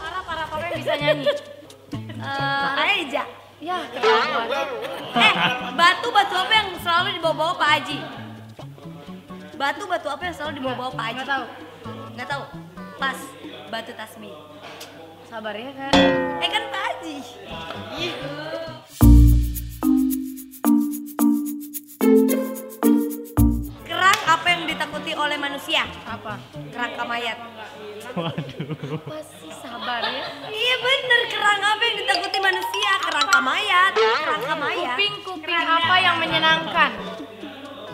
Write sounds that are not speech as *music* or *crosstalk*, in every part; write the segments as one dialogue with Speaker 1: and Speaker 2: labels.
Speaker 1: Para para para yang bisa nyanyi. Eh,
Speaker 2: Aja.
Speaker 1: ya ketahuan. Eh, batu batu apa yang selalu dibawa-bawa Pak Haji? Batu batu apa yang selalu dibawa-bawa Pak Haji?
Speaker 2: Nggak tahu.
Speaker 1: Nggak tahu. Pas batu tasmi.
Speaker 2: Sabar ya kan.
Speaker 1: Eh kan Pak Haji. Kerang apa yang ditakuti oleh manusia?
Speaker 2: Apa?
Speaker 1: Kerangka mayat.
Speaker 2: Masih sabar ya.
Speaker 1: Iya bener, kerang apa yang ditakuti manusia? Kerangka mayat, kerangka mayat.
Speaker 2: Kuping kuping apa yang menyenangkan?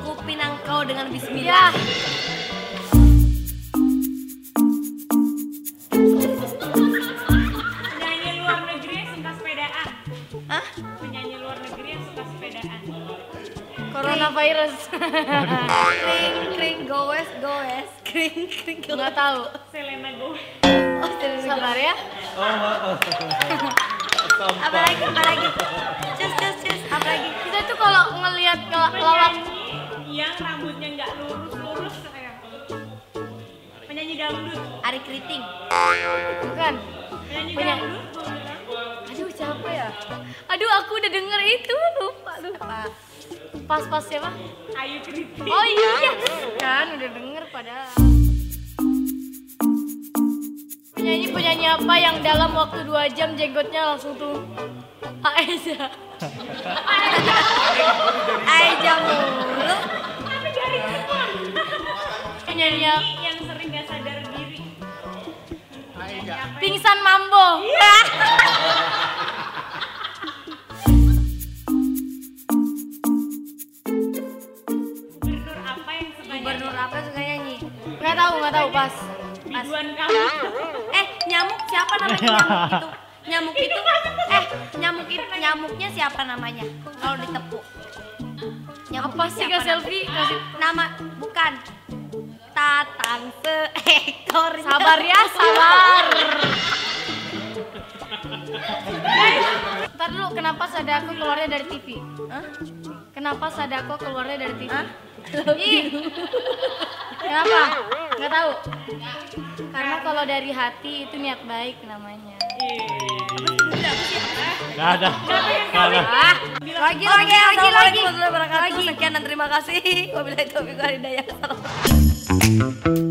Speaker 1: kupinang kau dengan
Speaker 2: Ya.
Speaker 1: bismillah.
Speaker 3: Penyanyi luar negeri yang suka sepedaan.
Speaker 1: Hah?
Speaker 3: Penyanyi luar negeri yang suka sepedaan.
Speaker 2: Coronavirus. *laughs*
Speaker 1: Kring kring goes goes
Speaker 2: *laughs*
Speaker 1: kring kring goes.
Speaker 2: Nggak tahu.
Speaker 3: Selena Gomez.
Speaker 1: Oh, serius.
Speaker 2: Sabar ya.
Speaker 1: Apalagi apalagi. Cus cus cus apalagi.
Speaker 2: Kita tuh kalau ngelihat ngelak- lawak
Speaker 3: Penyanyi yang rambutnya nggak lurus-lurus kayak. Penyanyi dangdut.
Speaker 1: Ari keriting.
Speaker 2: bukan.
Speaker 3: Penyanyi
Speaker 2: Penyanyi.
Speaker 3: dangdut. gua bilang.
Speaker 2: Aduh siapa ya? Aduh aku udah denger itu lupa lupa. Pas-pas siapa?
Speaker 3: Ayu Kritik.
Speaker 2: Oh iya kan udah denger padahal. Penyanyi penyanyi apa yang dalam waktu 2 jam jenggotnya langsung tuh Aisyah.
Speaker 1: Aja mulu.
Speaker 3: Tapi dari Jepang.
Speaker 2: Penyanyi
Speaker 3: Penyanyi yang sering nggak sadar diri.
Speaker 2: pingsan mambo.
Speaker 3: Gubernur apa yang suka nyanyi?
Speaker 1: Gubernur apa suka nyanyi?
Speaker 2: Nggak tahu nggak tahu pas.
Speaker 3: Biduan kamu.
Speaker 1: Eh nyamuk siapa namanya nyamuk itu?
Speaker 2: *laughs*
Speaker 1: Nyamuk itu eh nyamuk itu nyamuknya siapa namanya? Kalau ditepuk. Nyamuk
Speaker 2: Apa sih
Speaker 1: siapa
Speaker 2: kak
Speaker 1: namanya?
Speaker 2: selfie? Kasih.
Speaker 1: Nama bukan tatang seekor
Speaker 2: Sabar ya sabar. Ntar dulu kenapa sadako keluarnya dari TV?
Speaker 1: Hah?
Speaker 2: Kenapa sadako keluarnya dari TV?
Speaker 1: Hah?
Speaker 2: Ih. Kenapa? Nggak tahu. Karena kalau dari hati itu niat baik namanya.
Speaker 4: Nggak ada. Nggak ada.
Speaker 1: Lagi
Speaker 2: Oke,
Speaker 1: lagi lagi lagi.
Speaker 2: lagi.
Speaker 1: Sekian dan terima kasih. Wabillahi taufiq wal hidayah.